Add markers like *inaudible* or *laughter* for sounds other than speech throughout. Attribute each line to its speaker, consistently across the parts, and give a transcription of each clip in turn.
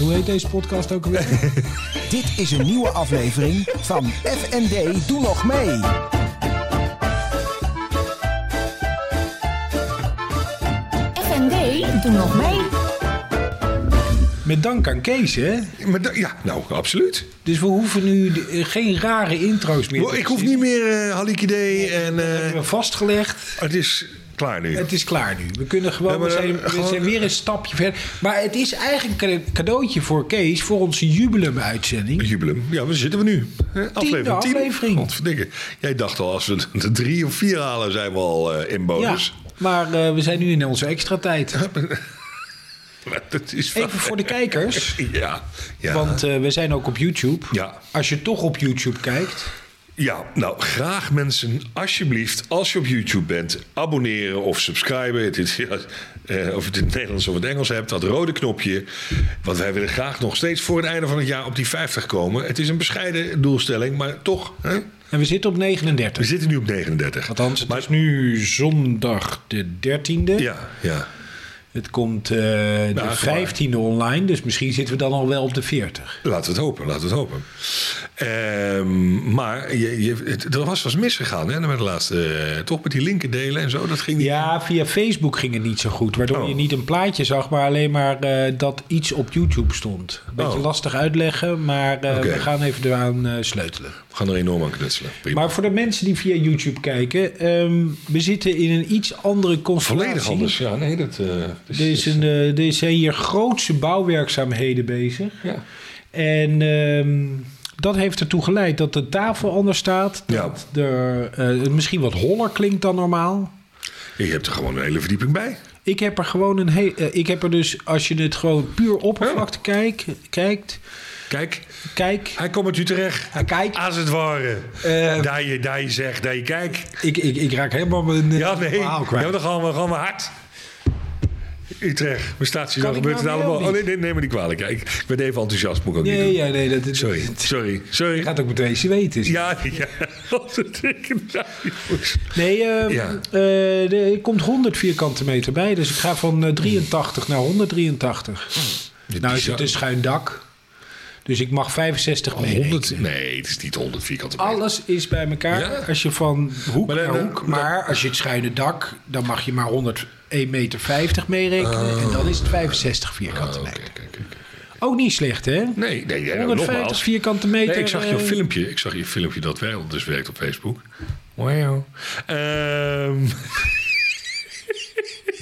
Speaker 1: Hoe heet deze podcast ook
Speaker 2: *laughs*
Speaker 1: alweer?
Speaker 3: Dit is een nieuwe aflevering van FND Doe Nog Mee.
Speaker 4: FND, doe nog mee.
Speaker 1: Met dank aan Kees, hè?
Speaker 2: Maar da- ja, nou, absoluut.
Speaker 1: Dus we hoeven nu de- eh, geen rare intro's meer te
Speaker 2: Ik hoef
Speaker 1: verzinnen.
Speaker 2: niet meer eh Halikidee en
Speaker 1: We
Speaker 2: eh,
Speaker 1: hebben vastgelegd.
Speaker 2: het is klaar nu.
Speaker 1: Het is klaar nu. We kunnen gewoon.
Speaker 2: Ja, maar,
Speaker 1: we, zijn,
Speaker 2: eh,
Speaker 1: we
Speaker 2: gewoon-
Speaker 1: zijn weer een stapje verder. Maar het is eigenlijk een cadeautje voor Kees voor onze
Speaker 2: Het
Speaker 1: jubileum-uitzending.
Speaker 2: Jubileum. Ja, waar zitten we nu? Eh, Aflevering 10.
Speaker 1: aflevering.
Speaker 2: Godverdikke. Jij dacht al, als we de drie of vier halen, zijn we al eh, in
Speaker 1: Ja,
Speaker 2: bonus.
Speaker 1: maar eh, we zijn nu in onze extra
Speaker 2: *laughs*
Speaker 1: tijd.
Speaker 2: Maar dat is wel-
Speaker 1: Even voor de kijkers.
Speaker 2: Ja, ja.
Speaker 1: Want eh, we zijn ook op YouTube.
Speaker 2: Ja.
Speaker 1: Als je toch op YouTube kijkt.
Speaker 2: ja, nou, graag mensen, alsjeblieft, als je op YouTube bent, abonneren of subscriben. Het is, ja, eh, of je het in het Nederlands of het Engels hebt, dat rode knopje. Want wij willen graag nog steeds voor het einde van het jaar op die 50 komen. Het is een bescheiden doelstelling, maar toch. Hè?
Speaker 1: En we zitten op
Speaker 2: We
Speaker 1: 39.
Speaker 2: zitten nu op 39.
Speaker 1: Althans, het
Speaker 2: Maar-
Speaker 1: is nu zondag de 13e.
Speaker 2: Ja, ja.
Speaker 1: Het komt eh,
Speaker 2: Ja,
Speaker 1: de
Speaker 2: is
Speaker 1: 15e online. Dus misschien zitten we dan al wel op de 40.
Speaker 2: Laten we het hopen, laten we het hopen. Ehm, maar je, je, het, er was was misgegaan, hè, met de laatste, eh, toch met die linken delen en zo. Dat ging niet.
Speaker 1: Ja, via Facebook ging het niet zo goed. Waardoor
Speaker 2: Oh.
Speaker 1: je niet een plaatje zag, maar alleen maar eh, dat iets op YouTube stond. Beetje
Speaker 2: Oh.
Speaker 1: lastig uitleggen, maar eh,
Speaker 2: Oké.
Speaker 1: we gaan even eraan eh, sleutelen.
Speaker 2: We gaan er enorm aan knutselen. Prima.
Speaker 1: Maar voor de mensen die via YouTube kijken, ehm, we zitten in een iets andere constellatie.
Speaker 2: volledig anders. Ja, nee, dat. eh, is-
Speaker 1: Er, is een, eh, er zijn hier grootse bouwwerkzaamheden bezig.
Speaker 2: Ja.
Speaker 1: En ehm, dat heeft ertoe geleid dat de tafel anders staat.
Speaker 2: Ja.
Speaker 1: Dat er, eh, het misschien wat holler klinkt dan normaal.
Speaker 2: Je hebt er gewoon een hele verdieping bij.
Speaker 1: Ik heb er gewoon een heel. eh, ik heb er dus, als je het gewoon puur oppervlakte kijk, kijkt.
Speaker 2: Kijk,
Speaker 1: Kijk.
Speaker 2: hij komt uit Utrecht.
Speaker 1: eh, Kijk,
Speaker 2: Als het ware.
Speaker 1: Eh,
Speaker 2: daar, je, daar je zegt, daar je kijkt.
Speaker 1: ik, ik, ik raak helemaal mijn eh,
Speaker 2: Ja, nee.
Speaker 1: verhaal
Speaker 2: Ja,
Speaker 1: kwijt.
Speaker 2: dan gaan we, gaan we hard. Utrecht, mijn statie,
Speaker 1: Kan
Speaker 2: dan
Speaker 1: ik
Speaker 2: gebeurt het
Speaker 1: nou weer
Speaker 2: allemaal.
Speaker 1: of
Speaker 2: Oh, nee, nee, neem me niet kwalijk. Ja, ik, ik ben even enthousiast, moet ik ook niet
Speaker 1: Nee,
Speaker 2: doen.
Speaker 1: ja, nee, dat, dat-
Speaker 2: Sorry,
Speaker 1: Het
Speaker 2: sorry, sorry.
Speaker 1: gaat ook meteen ze weten.
Speaker 2: Ja, ja. *laughs* Wat een dikke duif.
Speaker 1: Nee, eh,
Speaker 2: Ja.
Speaker 1: eh, er er komt 100 vierkante meter bij. Dus ik ga van eh, 83 naar
Speaker 2: Oh,
Speaker 1: 183. Nou is het een schuin dak. Dus ik mag 65 mee.
Speaker 2: 100? Nee, het is niet 100 vierkante meter.
Speaker 1: Alles is bij elkaar
Speaker 2: Ja.
Speaker 1: als je van hoek
Speaker 2: Maar dan-
Speaker 1: naar hoek.
Speaker 2: dan-
Speaker 1: maar als je het schuine dak, dan mag je maar 101,50 meter meerekenen. En dan is het 65 vierkante
Speaker 2: Oh, Oké,
Speaker 1: meter.
Speaker 2: oké, Oh. oké.
Speaker 1: Ook niet slecht, hè?
Speaker 2: Nee, nee, nee, nou,
Speaker 1: 150
Speaker 2: nogmaals.
Speaker 1: vierkante meter.
Speaker 2: Nee, ik zag je
Speaker 1: eh,
Speaker 2: filmpje. Ik zag je filmpje dat wel dus werkt op Facebook. Wow. Ehm,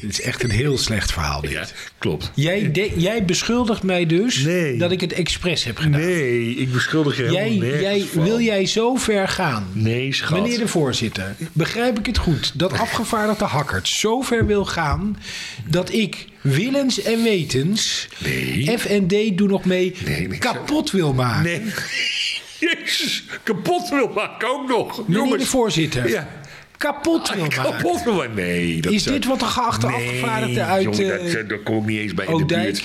Speaker 1: Dit is echt een heel slecht verhaal. dit.
Speaker 2: ja, klopt.
Speaker 1: Jij, de- jij beschuldigt mij dus
Speaker 2: Nee.
Speaker 1: dat ik het expres heb gedaan.
Speaker 2: Nee, ik beschuldig je
Speaker 1: Jij,
Speaker 2: helemaal nergens
Speaker 1: jij,
Speaker 2: van.
Speaker 1: wil jij zo ver gaan?
Speaker 2: Nee, schat.
Speaker 1: Meneer de voorzitter, begrijp ik het goed dat afgevaardigde Hakkert zo ver wil gaan dat ik willens en wetens
Speaker 2: Nee.
Speaker 1: FND doe nog mee
Speaker 2: Nee, nee,
Speaker 1: kapot wil maken?
Speaker 2: Nee. *laughs* Jezus, kapot wil maken ook nog.
Speaker 1: Meneer de
Speaker 2: Jongens.
Speaker 1: voorzitter,
Speaker 2: Ja.
Speaker 1: kapot wil maken.
Speaker 2: *laughs* Kapot wil maken. Nee. Dat
Speaker 1: Is
Speaker 2: zou-
Speaker 1: dit wat de geachte afgevaardigde uit
Speaker 2: jongen, dat,
Speaker 1: eh,
Speaker 2: eh, daar kom ik niet eens bij in de
Speaker 1: Oudijk?
Speaker 2: buurt.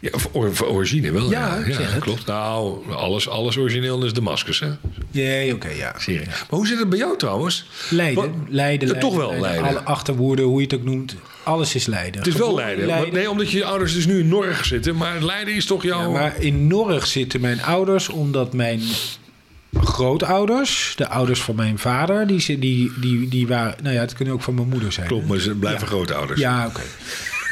Speaker 2: Ja, voor, or- voor origine wel.
Speaker 1: Ja,
Speaker 2: Ja,
Speaker 1: ik
Speaker 2: ja,
Speaker 1: zeg het.
Speaker 2: klopt. Nou, alles, alles origineel is Damascus, hè?
Speaker 1: Nee, oké, ja.
Speaker 2: Serie. Maar hoe zit het bij jou trouwens?
Speaker 1: Leiden,
Speaker 2: Wat-
Speaker 1: Leiden, Leiden.
Speaker 2: Ja, toch wel Leiden.
Speaker 1: Alle achterwoorden, hoe je het ook noemt. Alles is Leiden.
Speaker 2: Het is wel
Speaker 1: Geboren
Speaker 2: Leiden. Want- Nee, omdat je ouders dus nu in Norg zitten. Maar Leiden is toch jouw...
Speaker 1: Ja, maar in Norg zitten mijn ouders omdat mijn grootouders, de ouders van mijn vader, die, zi- die, die, die waren. Nou ja, het kunnen ook van mijn moeder zijn.
Speaker 2: Klopt, maar ze blijven grootouders.
Speaker 1: Ja, oké.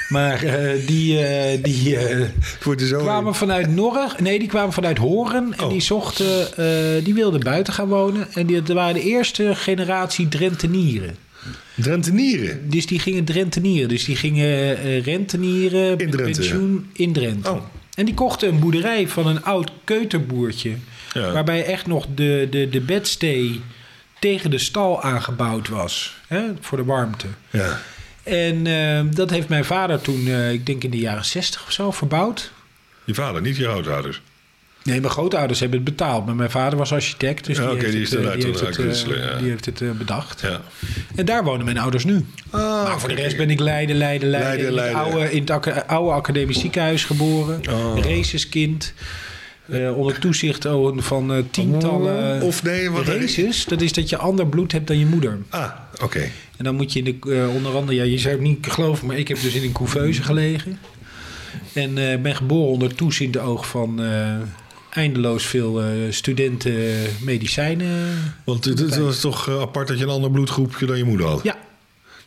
Speaker 1: Maar eh, die, eh, die eh,
Speaker 2: Het wordt er zo
Speaker 1: kwamen vanuit Norg. Nee, die kwamen vanuit Horen. En
Speaker 2: Oh.
Speaker 1: die zochten. eh, die wilden buiten gaan wonen. En die dat waren de eerste generatie Drentenieren.
Speaker 2: in. Drentenieren.
Speaker 1: Dus die gingen Drentenieren. Dus die gingen eh, rentenieren.
Speaker 2: In Drenthe,
Speaker 1: pensioen in Drenthe.
Speaker 2: Oh.
Speaker 1: En die kochten een boerderij van een oud keuterboertje.
Speaker 2: Ja.
Speaker 1: Waarbij echt nog de, de, de bedstee tegen de stal aangebouwd was. Hè, voor de warmte.
Speaker 2: Ja.
Speaker 1: En eh, dat heeft mijn vader toen, eh, ik denk in de jaren 60 of zo, verbouwd.
Speaker 2: Je vader, niet je grootouders.
Speaker 1: Nee, mijn grootouders hebben het betaald. Maar mijn vader was architect. Dus
Speaker 2: Ja,
Speaker 1: die,
Speaker 2: oké,
Speaker 1: heeft
Speaker 2: die is
Speaker 1: het, eh,
Speaker 2: eruit
Speaker 1: die heeft het,
Speaker 2: uitgewisseld,
Speaker 1: eh,
Speaker 2: ja.
Speaker 1: die heeft het eh, bedacht.
Speaker 2: Ja. Ah,
Speaker 1: En daar wonen mijn ouders nu. maar
Speaker 5: Nou,
Speaker 1: voor de rest ben ik Leiden, Leiden, Leiden.
Speaker 2: Leiden,
Speaker 1: in, het
Speaker 2: Leiden.
Speaker 1: Oude, in het aca- oude academisch ziekenhuis geboren.
Speaker 2: Oh.
Speaker 1: Raceskind. Eh, onder toezicht van eh, tientallen
Speaker 2: Of nee, wat...
Speaker 1: races. Dat is dat je ander bloed hebt dan je moeder.
Speaker 2: Ah, oké.
Speaker 1: En dan moet je in de, eh, onder andere, ja, je zou het niet geloven, maar ik heb dus in een couveuse gelegen. En eh, ben geboren onder toeziende oog van eh, eindeloos veel eh, studenten eh, medicijnen.
Speaker 5: Want het, het was toch eh, apart dat je een ander bloedgroepje dan je moeder had?
Speaker 1: Ja,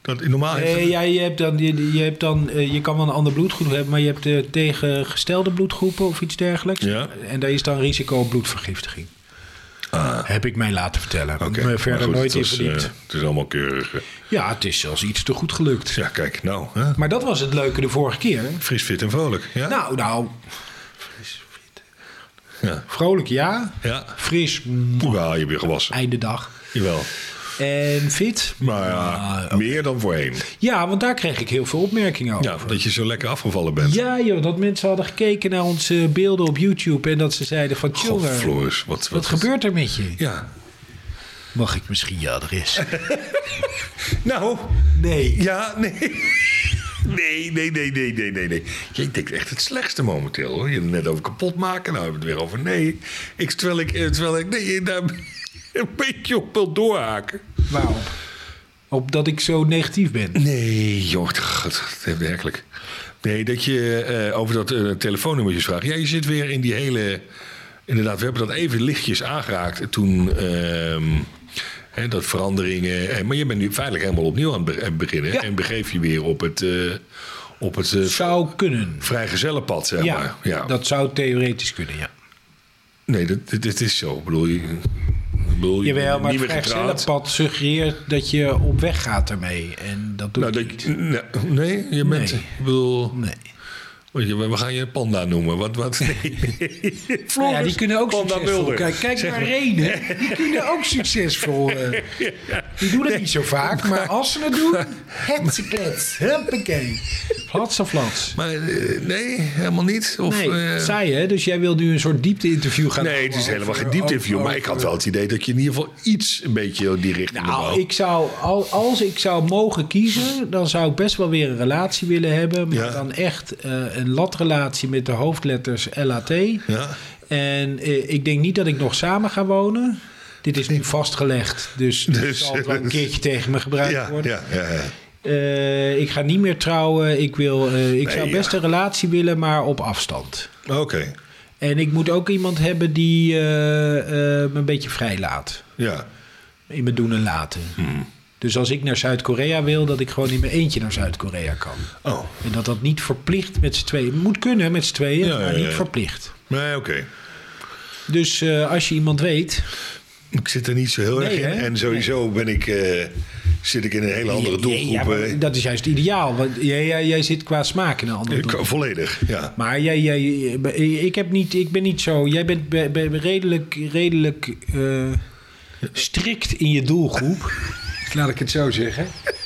Speaker 5: Dat, normaal heeft-
Speaker 1: Eh, ja je, hebt dan, je, je hebt dan, eh, je kan wel een andere bloedgroep hebben, maar je hebt eh, tegengestelde bloedgroepen of iets dergelijks.
Speaker 5: Ja.
Speaker 1: En daar is dan risico op bloedvergiftiging. Heb ik mij laten vertellen.
Speaker 5: Ah. Oké,
Speaker 1: Me
Speaker 5: maar
Speaker 1: verder
Speaker 5: goed,
Speaker 1: nooit
Speaker 5: het
Speaker 1: in
Speaker 5: was,
Speaker 1: verdiept.
Speaker 5: eh, het is allemaal keurig. eh.
Speaker 1: ja, het is zelfs iets te goed gelukt.
Speaker 5: Ja, kijk, nou. Hè?
Speaker 1: Maar dat was het leuke de vorige keer.
Speaker 5: Fris, fit en vrolijk. Ja?
Speaker 1: Nou, nou,
Speaker 5: Ja.
Speaker 1: vrolijk ja.
Speaker 5: ja.
Speaker 1: Fris, mm,
Speaker 5: Jawel, je weer gewassen.
Speaker 1: einde dag.
Speaker 5: Jawel.
Speaker 1: En fit.
Speaker 5: Maar ja,
Speaker 1: Ah,
Speaker 5: meer dan voorheen.
Speaker 1: Ja, want daar kreeg ik heel veel opmerkingen over.
Speaker 5: Ja, dat je zo lekker afgevallen bent.
Speaker 1: Ja joh, dat mensen hadden gekeken naar onze beelden op YouTube... en dat ze zeiden van,
Speaker 5: God,
Speaker 1: jongen,
Speaker 5: Floris, wat, wat,
Speaker 1: Wat gebeurt er met je?
Speaker 5: Ja.
Speaker 1: Mag ik misschien je
Speaker 5: *laughs*
Speaker 1: adres?
Speaker 5: Nou,
Speaker 1: Nee.
Speaker 5: ja, nee. *laughs* Nee, nee, nee, nee, nee, nee, nee. Jij denkt echt het slechtste momenteel, hoor. Je hebt het net over kapot maken, nou hebben we het weer over nee. Ik, terwijl ik, eh, terwijl ik nee, daar *laughs* een beetje op wil doorhaken.
Speaker 1: Waarom? Omdat ik zo negatief ben.
Speaker 5: Nee, joh, god, dat heeft werkelijk. Nee, dat je eh, over dat eh telefoonnummertjes vraagt. Ja, je zit weer in die hele... Inderdaad, we hebben dat even lichtjes aangeraakt toen... ehm, hè, dat veranderingen... eh, maar je bent nu feitelijk helemaal opnieuw aan het be- aan het beginnen.
Speaker 1: Ja.
Speaker 5: En begeef je weer op het, eh op het eh,
Speaker 1: Zou kunnen.
Speaker 5: vrijgezellenpad, zeg maar.
Speaker 1: Ja,
Speaker 5: Ja.
Speaker 1: dat zou theoretisch kunnen, ja.
Speaker 5: Nee, dat, dit, dit is zo. Ik bedoel, je, ik bedoel, je
Speaker 1: Jawel,
Speaker 5: bent
Speaker 1: maar
Speaker 5: niet
Speaker 1: het
Speaker 5: meer getrouwd.
Speaker 1: vrijgezellenpad suggereert dat je op weg gaat ermee. En dat doe
Speaker 5: Nou,
Speaker 1: ik
Speaker 5: dat,
Speaker 1: niet.
Speaker 5: nee, nee, je bent...
Speaker 1: Nee.
Speaker 5: Ik bedoel...
Speaker 1: Nee.
Speaker 5: Weet je, we gaan je panda noemen. Wat,
Speaker 1: *laughs*
Speaker 5: wat? Nee.
Speaker 1: Nou ja, die
Speaker 5: Floris,
Speaker 1: kunnen ook
Speaker 5: panda
Speaker 1: succesvol.
Speaker 5: Mulder.
Speaker 1: Kijk, kijk
Speaker 5: Zeg
Speaker 1: naar
Speaker 5: maar.
Speaker 1: Renen. Die kunnen ook succesvol. eh. Die doen het niet zo vaak, maar als ze het
Speaker 5: *laughs*
Speaker 1: doen... Hetzeklets. Huppakee. Flats of flats.
Speaker 5: Maar eh, nee, helemaal niet. Of,
Speaker 1: Nee,
Speaker 5: eh,
Speaker 1: saai hè? Dus jij wil nu een soort diepte-interview gaan
Speaker 5: nee, het is
Speaker 1: over-
Speaker 5: helemaal geen diepte-interview.
Speaker 1: over-
Speaker 5: Maar ik had wel het idee dat je in ieder geval iets een beetje die richting
Speaker 1: Nou,
Speaker 5: wou.
Speaker 1: ik zou, al- als ik zou mogen kiezen, dan zou ik best wel weer een relatie willen hebben. Maar
Speaker 5: Ja.
Speaker 1: dan echt eh, een latrelatie met de hoofdletters LAT.
Speaker 5: Ja?
Speaker 1: En eh, ik denk niet dat ik nog samen ga wonen. Dit is nu vastgelegd, dus, dat
Speaker 5: Dus-
Speaker 1: zal het wel een keertje tegen me gebruikt
Speaker 5: Ja,
Speaker 1: worden.
Speaker 5: ja, ja, ja.
Speaker 1: Eh, ik ga niet meer trouwen. Ik, wil, eh, ik
Speaker 5: Nee,
Speaker 1: zou
Speaker 5: ja.
Speaker 1: best een relatie willen, maar op afstand.
Speaker 5: Oké.
Speaker 1: En ik moet ook iemand hebben die eh, eh, me een beetje vrij laat.
Speaker 5: Ja.
Speaker 1: In mijn doen en laten.
Speaker 5: Hmm.
Speaker 1: Dus als ik naar Zuid-Korea wil, dat ik gewoon in mijn eentje naar Zuid-Korea kan.
Speaker 5: Oh,
Speaker 1: En dat dat niet verplicht met z'n tweeën. Het moet kunnen met z'n tweeën,
Speaker 5: Ja, ja,
Speaker 1: maar niet
Speaker 5: ja.
Speaker 1: verplicht.
Speaker 5: nee, oké.
Speaker 1: Dus eh, als je iemand weet.
Speaker 5: Ik zit er niet zo heel erg
Speaker 1: Nee,
Speaker 5: in.
Speaker 1: hè?
Speaker 5: En sowieso ben ik, eh, zit ik in een hele andere
Speaker 1: Ja, ja,
Speaker 5: doelgroep.
Speaker 1: maar
Speaker 5: eh.
Speaker 1: dat is juist ideaal. Want jij, jij, jij zit qua smaak in een andere
Speaker 5: Ik-
Speaker 1: doelgroep.
Speaker 5: volledig, ja.
Speaker 1: Maar jij, jij, eh, ik, heb niet, ik ben niet zo. Jij bent be- be- redelijk, redelijk eh, strikt in je doelgroep.
Speaker 5: *laughs*
Speaker 1: Laat ik het zo zeggen. *laughs*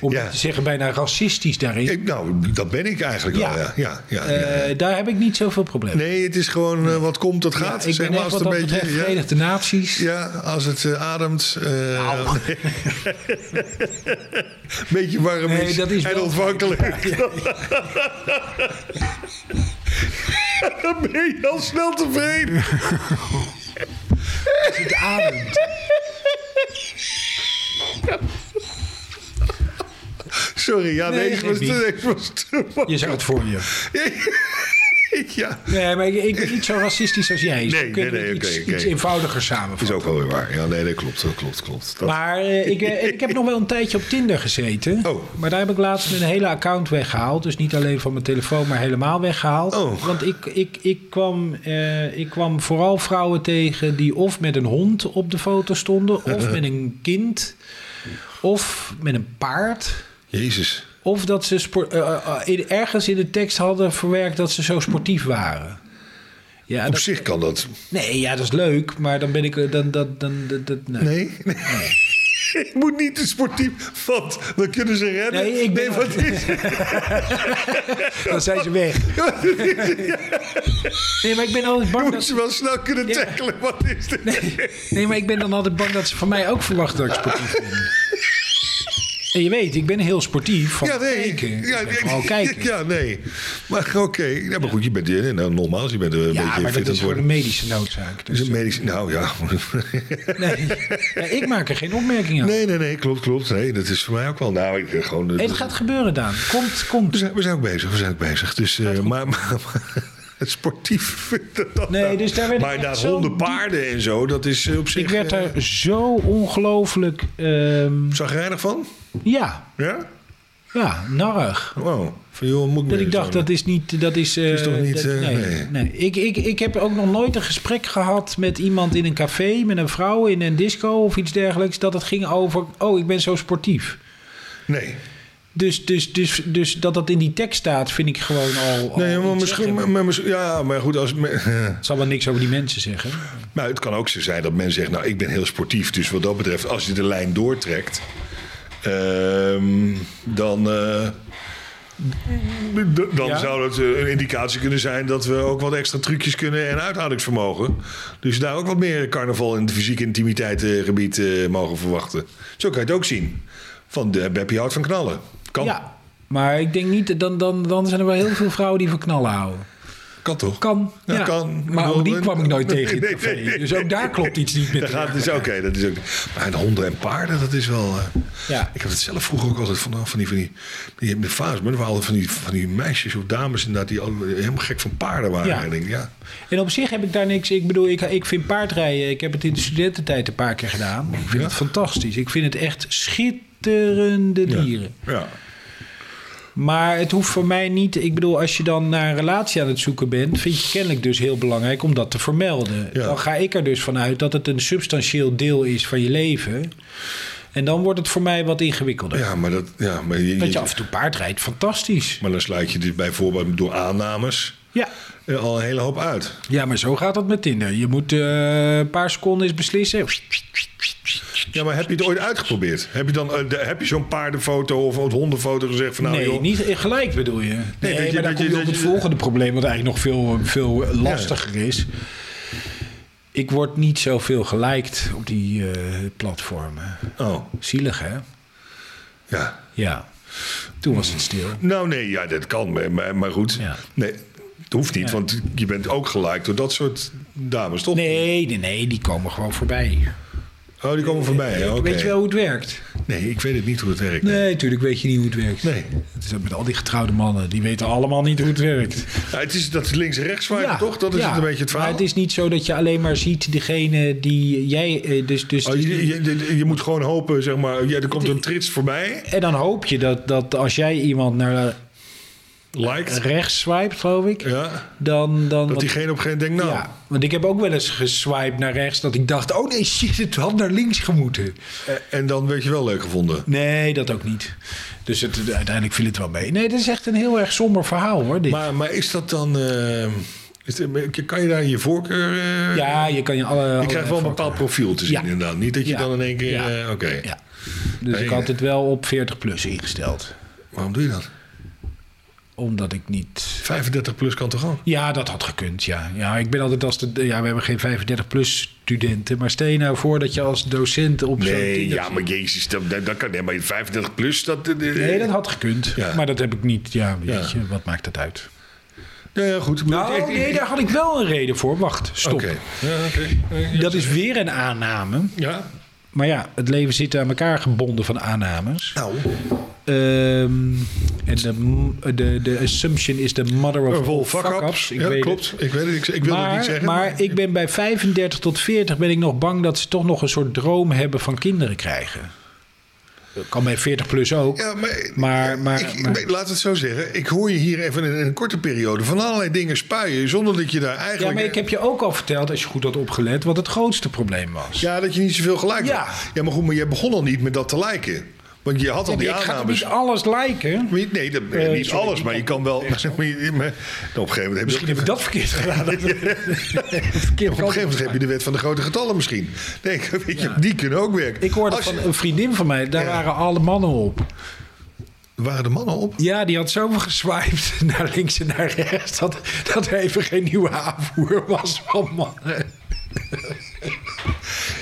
Speaker 1: Om
Speaker 5: Ja.
Speaker 1: niet te zeggen, bijna racistisch daarin.
Speaker 5: Ik, nou, dat ben ik eigenlijk
Speaker 1: Ja.
Speaker 5: wel, ja. ja, ja, ja.
Speaker 1: Eh, daar heb ik niet zoveel probleem mee.
Speaker 5: Nee, het is gewoon eh, wat komt, dat gaat.
Speaker 1: ik
Speaker 5: zeg
Speaker 1: ben
Speaker 5: maar
Speaker 1: echt
Speaker 5: als
Speaker 1: wat dat
Speaker 5: het een
Speaker 1: betreft
Speaker 5: beetje. Ja,
Speaker 1: Verenigde Naties.
Speaker 5: ja, als het eh, ademt. eh, Een *laughs* beetje warm
Speaker 1: Nee,
Speaker 5: is,
Speaker 1: dat is
Speaker 5: en
Speaker 1: wel-
Speaker 5: ontvankelijk. *laughs* Dan ben je al snel tevreden.
Speaker 1: Het ademt.
Speaker 5: Sorry, ja,
Speaker 1: Nee,
Speaker 5: nee, deze was,
Speaker 1: geeft
Speaker 5: te- deze was te
Speaker 1: Je zag het voor
Speaker 5: *laughs*
Speaker 1: je.
Speaker 5: Ja,
Speaker 1: Nee, maar ik, ik ben niet zo racistisch als jij. Zo
Speaker 5: Nee,
Speaker 1: kunnen we
Speaker 5: nee, nee,
Speaker 1: iets,
Speaker 5: oké, oké.
Speaker 1: iets eenvoudiger samenvatten.
Speaker 5: is ook wel weer waar. Ja, nee, dat klopt, dat klopt, klopt. Dat-
Speaker 1: Maar eh, ik, eh, ik heb nog wel een tijdje op Tinder gezeten.
Speaker 5: Oh.
Speaker 1: Maar daar heb ik laatst een hele account weggehaald. Dus niet alleen van mijn telefoon, maar helemaal weggehaald.
Speaker 5: Oh.
Speaker 1: Want ik, ik, ik, kwam, eh, ik kwam vooral vrouwen tegen die of met een hond op de foto stonden,
Speaker 5: Uh-huh.
Speaker 1: of met een kind, of met een paard.
Speaker 5: Jezus.
Speaker 1: Of dat ze spo- eh, eh, eh, in- ergens in de tekst hadden verwerkt dat ze zo sportief waren. Ja,
Speaker 5: Op
Speaker 1: dat-
Speaker 5: zich kan dat.
Speaker 1: nee, ja, dat is leuk, maar dan ben ik. eh, Dan, dat, dan, dat, dat, nee.
Speaker 5: Nee. Ik moet niet te sportief, want dan kunnen ze rennen.
Speaker 1: Nee, ik ben-
Speaker 5: nee wat
Speaker 1: *laughs*
Speaker 5: is
Speaker 1: Dan zijn ze weg. Nee, maar ik ben altijd bang
Speaker 5: Moet
Speaker 1: dat...
Speaker 5: ze wel snel kunnen
Speaker 1: Ja.
Speaker 5: tackelen? Wat is dit?
Speaker 1: Nee, maar ik ben dan altijd bang dat ze van mij ook verwachten dat ik sportief ben. En je weet, ik ben heel sportief van
Speaker 5: Ja, nee.
Speaker 1: kijken. Ik
Speaker 5: Ja,
Speaker 1: ben
Speaker 5: nee.
Speaker 1: Gewoon kijken.
Speaker 5: Ja, nee. Maar oké. Ja, maar goed, je bent eh, nou, nogmaals, je bent eh, een
Speaker 1: Ja,
Speaker 5: beetje
Speaker 1: maar
Speaker 5: fit
Speaker 1: dat
Speaker 5: aan
Speaker 1: is
Speaker 5: het
Speaker 1: voor een
Speaker 5: worden.
Speaker 1: medische noodzaak.
Speaker 5: Dus
Speaker 1: Dus,
Speaker 5: een medisch, nou ja. *laughs*
Speaker 1: nee, Ja, ik maak er geen opmerking aan.
Speaker 5: Nee, nee, nee, klopt, klopt. Nee, dat is voor mij ook wel. Nou, ik eh, gewoon. eh,
Speaker 1: Hey,
Speaker 5: dat-
Speaker 1: het gaat gebeuren, Daan. Komt, komt.
Speaker 5: We zijn, we zijn ook bezig, we zijn ook bezig. Dus, eh, maar, maar, maar *laughs* het sportief vind ik dat
Speaker 1: Nee,
Speaker 5: nou-
Speaker 1: dus daar werd ik
Speaker 5: Maar
Speaker 1: echt
Speaker 5: daar
Speaker 1: zo
Speaker 5: honden,
Speaker 1: diep-
Speaker 5: paarden en zo, dat is eh, op zich...
Speaker 1: Ik werd
Speaker 5: eh,
Speaker 1: er zo ongelooflijk... ehm,
Speaker 5: Zagrijnig van?
Speaker 1: ja,
Speaker 5: Ja?
Speaker 1: ja, narrig.
Speaker 5: Wow. Van joh, moet ik
Speaker 1: Dat
Speaker 5: weer
Speaker 1: ik dacht,
Speaker 5: zo'n-
Speaker 1: dat is niet... Dat is, eh,
Speaker 5: is toch niet,
Speaker 1: dat-
Speaker 5: eh,
Speaker 1: nee,
Speaker 5: nee.
Speaker 1: nee. Ik, ik, ik heb ook nog nooit een gesprek gehad met iemand in een café... met een vrouw in een disco of iets dergelijks... dat het ging over... oh, ik ben zo sportief.
Speaker 5: Nee.
Speaker 1: Dus, dus, dus, dus dat dat in die tekst staat, vind ik gewoon al... al
Speaker 5: Nee, maar
Speaker 1: iets
Speaker 5: misschien...
Speaker 1: zeggen.
Speaker 5: Maar, maar misschien- ja, maar goed, als... me- *laughs*
Speaker 1: Het zal wel niks over die mensen zeggen.
Speaker 5: Maar het kan ook zo zijn dat men zegt, nou, ik ben heel sportief. Dus wat dat betreft, als je de lijn doortrekt, ehm, dan, eh, d- dan
Speaker 1: Ja.
Speaker 5: zou dat eh, een indicatie kunnen zijn dat we ook wat extra trucjes kunnen en uithoudingsvermogen. Dus daar ook wat meer carnaval in het fysieke intimiteit eh, gebied eh, mogen verwachten. Zo kan je het ook zien. Van de Beppie houdt van knallen. Kan,
Speaker 1: Ja, maar ik denk niet... dat- Dan, dan, dan zijn er wel heel veel vrouwen die van knallen houden.
Speaker 5: kan toch?
Speaker 1: Kan.
Speaker 5: Ja,
Speaker 1: ja.
Speaker 5: kan. Ik
Speaker 1: Maar
Speaker 5: bedoel,
Speaker 1: ook die
Speaker 5: eh,
Speaker 1: kwam ik nooit
Speaker 5: *laughs* nee,
Speaker 1: tegen in het
Speaker 5: nee,
Speaker 1: café.
Speaker 5: nee,
Speaker 1: Dus ook daar klopt iets niet
Speaker 5: Daar *laughs*
Speaker 1: met
Speaker 5: gaat dus oké, dat is ook. Maar de honden en paarden, dat is wel. eh,
Speaker 1: Ja.
Speaker 5: Ik heb het zelf vroeger ook altijd van, van die van die, die, die fase, maar er waren altijd van die van die meisjes of dames inderdaad die al- helemaal gek van paarden waren.
Speaker 1: Ja.
Speaker 5: En ik denk, ja.
Speaker 1: En op zich heb ik daar niks... Ik bedoel, ik, ik vind paardrijden... Ik heb het in de studententijd een paar keer gedaan. Ik vind
Speaker 5: Ja.
Speaker 1: het fantastisch. Ik vind het echt schitterende dieren.
Speaker 5: Ja.
Speaker 1: Maar het hoeft voor mij niet. Ik bedoel, als je dan naar een relatie aan het zoeken bent, vind je kennelijk dus heel belangrijk om dat te vermelden.
Speaker 5: Ja.
Speaker 1: Dan ga ik er dus vanuit dat het een substantieel deel is van je leven. En dan wordt het voor mij wat ingewikkelder.
Speaker 5: Ja, maar dat ja, maar je,
Speaker 1: Dat je
Speaker 5: je-
Speaker 1: af en toe paard rijdt, fantastisch.
Speaker 5: maar dan sluit je dit bijvoorbeeld door aannames
Speaker 1: Ja.
Speaker 5: eh, al een hele hoop uit.
Speaker 1: ja, maar zo gaat dat met Tinder. Je moet eh, een paar seconden eens beslissen.
Speaker 5: Ja, maar heb je het ooit uitgeprobeerd? Heb je dan eh, de- heb je zo'n paardenfoto of een hondenfoto gezegd van nou
Speaker 1: nee,
Speaker 5: joh,
Speaker 1: niet gelijk bedoel je. Nee,
Speaker 5: dat je-
Speaker 1: maar
Speaker 5: dat
Speaker 1: dan
Speaker 5: je-
Speaker 1: kom je
Speaker 5: dat
Speaker 1: op het
Speaker 5: je-
Speaker 1: volgende probleem... wat eigenlijk nog veel, veel lastiger is. Ik word niet zoveel geliked op die eh, platformen.
Speaker 5: oh,
Speaker 1: Zielig, hè?
Speaker 5: ja.
Speaker 1: Ja. Toen was het stil.
Speaker 5: Nou nee, ja, dat kan, maar- maar, maar goed.
Speaker 1: Ja.
Speaker 5: Nee, het hoeft niet, want je bent ook gelijk door dat soort dames, toch?
Speaker 1: Nee, nee, nee, die komen gewoon voorbij.
Speaker 5: Oh, die komen voorbij, hè? oké.
Speaker 1: Weet je wel hoe het werkt?
Speaker 5: Nee, ik weet het niet hoe het werkt.
Speaker 1: Nee, natuurlijk weet je niet hoe het werkt.
Speaker 5: Nee.
Speaker 1: Het is ook met al die getrouwde mannen, die weten allemaal niet hoe het werkt.
Speaker 5: Nou, het is dat is links en rechts zwaait, toch? Dat is
Speaker 1: ja.
Speaker 5: het een beetje het verhaal.
Speaker 1: Maar het is niet zo dat je alleen maar ziet degene die jij... eh, Dus, dus,
Speaker 5: Oh, je, je, je- je moet gewoon hopen, zeg maar. Ja, er komt een trits voorbij.
Speaker 1: En dan hoop je dat, dat als jij iemand naar
Speaker 5: Liked.
Speaker 1: rechts swipet, geloof ik,
Speaker 5: Ja.
Speaker 1: dan... dan
Speaker 5: Dat
Speaker 1: want-
Speaker 5: diegene op een gegeven moment denkt, nou.
Speaker 1: ja, want ik heb ook wel eens geswiped naar rechts dat ik dacht... oh nee, shit, het had naar links gemoeten.
Speaker 5: eh, En dan werd je wel leuk gevonden.
Speaker 1: Nee, dat ook niet. Dus het, uiteindelijk viel het wel mee. Nee, dit is echt een heel erg somber verhaal hoor. Dit.
Speaker 5: Maar, maar is dat dan. eh, is het- kan je daar je voorkeur. eh,
Speaker 1: ja, je kan je alle.
Speaker 5: Je krijgt wel een bepaald profiel te zien,
Speaker 1: Ja.
Speaker 5: inderdaad. Niet dat je
Speaker 1: Ja.
Speaker 5: dan in één keer.
Speaker 1: Ja.
Speaker 5: eh, Oké.
Speaker 1: Ja. Dus
Speaker 5: Nee.
Speaker 1: ik had het wel op 40 plus ingesteld.
Speaker 5: Waarom doe je dat?
Speaker 1: Omdat ik niet.
Speaker 5: 35 plus kan toch ook?
Speaker 1: Ja, dat had gekund. Ja, ja ik ben altijd als de. Ja, we hebben geen 35 plus studenten. Maar stel je nou voor dat je als docent op zo'n.
Speaker 5: Nee,
Speaker 1: Tinder
Speaker 5: ja,
Speaker 1: zit.
Speaker 5: maar jezus, dat, dat dat kan. Nee, maar 35 plus, dat. eh,
Speaker 1: Nee, dat had gekund.
Speaker 5: Ja.
Speaker 1: Maar dat heb ik niet. Ja,
Speaker 5: Ja.
Speaker 1: weet je, wat maakt dat uit?
Speaker 5: Ja, ja, goed. Maar
Speaker 1: Nou,
Speaker 5: ik- ik-
Speaker 1: nee, daar had ik wel een reden voor. Wacht, stop.
Speaker 5: Oké. Ja, oké.
Speaker 1: Dat is weer een aanname.
Speaker 5: Ja.
Speaker 1: Maar ja, het leven zit aan elkaar gebonden van aannames.
Speaker 5: Nou,
Speaker 1: Ehm, en de, de, de assumption is the mother of all fuck-ups. Ik
Speaker 5: Ja,
Speaker 1: weet
Speaker 5: klopt.
Speaker 1: het.
Speaker 5: Ik weet het. Ik, ik wil het niet
Speaker 1: Maar,
Speaker 5: zeggen.
Speaker 1: maar ik ben bij 35 tot 40 ben ik nog bang dat ze toch nog een soort droom hebben van kinderen krijgen. Dat kan bij 40 plus ook.
Speaker 5: Ja, maar...
Speaker 1: Maar, maar,
Speaker 5: ik,
Speaker 1: maar-
Speaker 5: ik- laat het zo zeggen. Ik hoor je hier even in een korte periode van allerlei dingen spuien... zonder dat je daar eigenlijk...
Speaker 1: ja, maar ik heb je ook al verteld, als je goed had opgelet, wat het grootste probleem was.
Speaker 5: Ja, dat je niet zoveel gelijk
Speaker 1: Ja.
Speaker 5: had. Ja, maar goed, maar jij begon al niet met dat te lijken. Want je had al
Speaker 1: ik
Speaker 5: die
Speaker 1: ga toch
Speaker 5: aannames.
Speaker 1: niet alles lijken.
Speaker 5: Maar je- Nee, dat,
Speaker 1: Eh,
Speaker 5: niet
Speaker 1: sorry,
Speaker 5: alles,
Speaker 1: ik
Speaker 5: maar je
Speaker 1: kan-
Speaker 5: kan wel... *laughs* Maar, maar- op een gegeven moment heb je...
Speaker 1: Misschien heb *laughs* ik dat verkeerd gedaan. Dat verkeerd
Speaker 5: Op een gegeven moment heb je de wet van de grote getallen misschien. Nee, weet je,
Speaker 1: Ja.
Speaker 5: die kunnen ook werken.
Speaker 1: Ik hoorde
Speaker 5: Als
Speaker 1: van
Speaker 5: je-
Speaker 1: een vriendin van mij, daar
Speaker 5: Ja.
Speaker 1: waren alle mannen op.
Speaker 5: Waren de mannen op?
Speaker 1: Ja, die had zoveel geswiped *laughs* naar links en naar rechts... dat, dat er even geen nieuwe aanvoer was van mannen.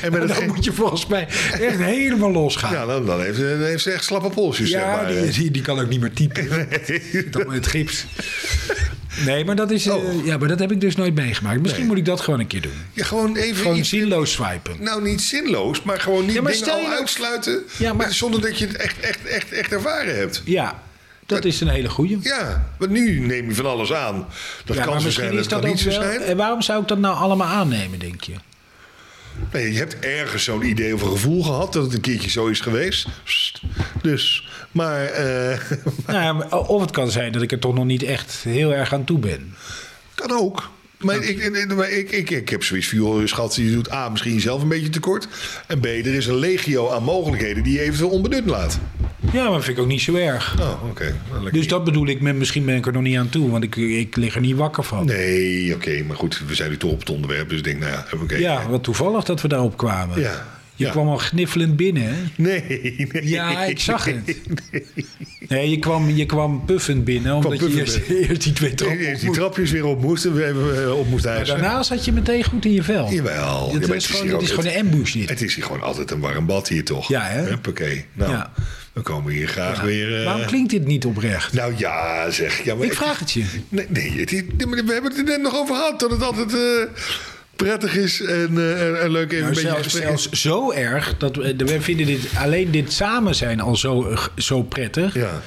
Speaker 5: En *laughs* met
Speaker 1: dan
Speaker 5: het ge-
Speaker 1: moet je volgens mij echt helemaal losgaan.
Speaker 5: Ja, dan, dan heeft, dan heeft ze echt slappe polsjes, zeg
Speaker 1: Ja,
Speaker 5: maar.
Speaker 1: die, die, die kan ook niet meer *laughs* typen. Dan met het gips. Nee, maar dat, is, eh,
Speaker 5: Oh.
Speaker 1: ja, maar dat heb ik dus nooit meegemaakt. Misschien moet ik dat gewoon een keer doen.
Speaker 5: Ja, gewoon even
Speaker 1: Gewoon
Speaker 5: iets...
Speaker 1: zinloos swipen.
Speaker 5: Nou, niet zinloos, maar gewoon niet
Speaker 1: Ja, maar
Speaker 5: dingen
Speaker 1: stel
Speaker 5: al
Speaker 1: je-
Speaker 5: uitsluiten...
Speaker 1: Ja, maar-
Speaker 5: zonder dat je het echt, echt, echt, echt ervaren hebt.
Speaker 1: Ja, dat is een hele goeie.
Speaker 5: Ja, want nu neem je van alles aan. Dat
Speaker 1: Ja,
Speaker 5: kan
Speaker 1: maar
Speaker 5: zo
Speaker 1: misschien
Speaker 5: zijn, dat
Speaker 1: is
Speaker 5: kan
Speaker 1: dat
Speaker 5: niet
Speaker 1: ook
Speaker 5: zo
Speaker 1: wel...
Speaker 5: zijn.
Speaker 1: En waarom zou ik dat nou allemaal aannemen, denk
Speaker 5: *laughs*
Speaker 1: je?
Speaker 5: Nee, je hebt ergens zo'n idee of een gevoel gehad... dat het een keertje zo is geweest. Psst. Dus, maar... eh,
Speaker 1: Nou, ja, maar- of het kan zijn dat ik er toch nog niet echt heel erg aan toe ben.
Speaker 5: Kan ook. Maar ik, ik, maar ik, ik, ik heb zoiets van, joh, schat, je doet A, misschien jezelf een beetje tekort. En B, er is een legio aan mogelijkheden die je eventueel onbenut laat.
Speaker 1: Ja, maar dat vind ik ook niet zo erg.
Speaker 5: Oh, oké. Nou, lekker.
Speaker 1: Dus dat bedoel ik, met, misschien ben ik er nog niet aan toe, want ik, ik lig er niet wakker van.
Speaker 5: Nee, oké, maar goed, we zijn nu toch op het onderwerp, dus ik denk, nou ja, oké.
Speaker 1: Ja, wat toevallig dat we daarop kwamen.
Speaker 5: Ja.
Speaker 1: Je
Speaker 5: Ja.
Speaker 1: kwam al gniffelend binnen, hè?
Speaker 5: Nee, nee.
Speaker 1: Ja, ik zag het. Nee, je kwam, je kwam puffend binnen, omdat je
Speaker 5: puffend
Speaker 1: eerst, eerst die twee trappen
Speaker 5: Eerst die
Speaker 1: op moest.
Speaker 5: trapjes weer op moest en we hebben eh, op moest
Speaker 1: Maar
Speaker 5: huizen.
Speaker 1: daarna zat je meteen goed in je vel.
Speaker 5: Jawel. Ja,
Speaker 1: Dat is,
Speaker 5: maar het is
Speaker 1: gewoon,
Speaker 5: hier
Speaker 1: dat
Speaker 5: ook
Speaker 1: is gewoon
Speaker 5: het-
Speaker 1: een ambush dit.
Speaker 5: Het is hier gewoon altijd een warm bad hier, toch?
Speaker 1: Ja, hè?
Speaker 5: Huppakee. Nou,
Speaker 1: Ja.
Speaker 5: we komen hier graag
Speaker 1: Ja.
Speaker 5: weer... eh,
Speaker 1: Waarom klinkt dit niet oprecht?
Speaker 5: Nou ja, zeg. Ja, maar
Speaker 1: Ik vraag het je.
Speaker 5: Nee, nee, het is- nee, maar we hebben het er net nog over gehad. Dat het altijd eh, prettig is en, eh, en, en leuk even
Speaker 1: Nou,
Speaker 5: een beetje
Speaker 1: zelfs,
Speaker 5: gesprek.
Speaker 1: zelfs zo erg dat we, we vinden dit, alleen dit samen zijn al zo, eh, zo prettig.
Speaker 5: Ja.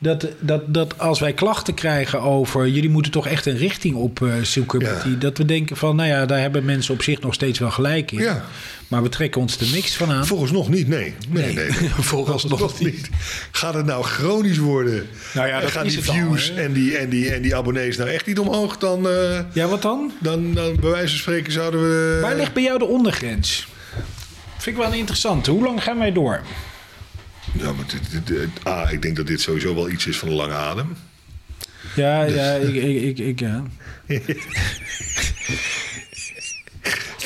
Speaker 1: Dat, dat, dat als wij klachten krijgen over jullie moeten toch echt een richting op eh, zoeken.
Speaker 5: Ja.
Speaker 1: met die- dat we denken van, nou ja, daar hebben mensen op zich nog steeds wel gelijk in.
Speaker 5: Ja.
Speaker 1: Maar we trekken ons er niks van aan.
Speaker 5: Volgens nog niet, nee. Nee, nee. nee.
Speaker 1: *laughs* Vooralsnog
Speaker 5: Nog niet. Gaat het nou chronisch worden?
Speaker 1: Nou ja,
Speaker 5: En
Speaker 1: dat
Speaker 5: gaan
Speaker 1: is
Speaker 5: die
Speaker 1: het al,
Speaker 5: views
Speaker 1: hè?
Speaker 5: en, die, en, die, en die abonnees nou echt niet omhoog? Dan, eh,
Speaker 1: Ja, wat dan?
Speaker 5: dan, dan bij wijze van spreken zouden we...
Speaker 1: Waar ligt bij jou de ondergrens? Vind ik wel interessant. Hoe lang gaan wij door?
Speaker 5: Ja, maar dit, dit- dit- ah, ik denk dat dit sowieso wel iets is van de lange adem. *laughs*
Speaker 1: Ja, ja, ik, ik, ik, ik, ja.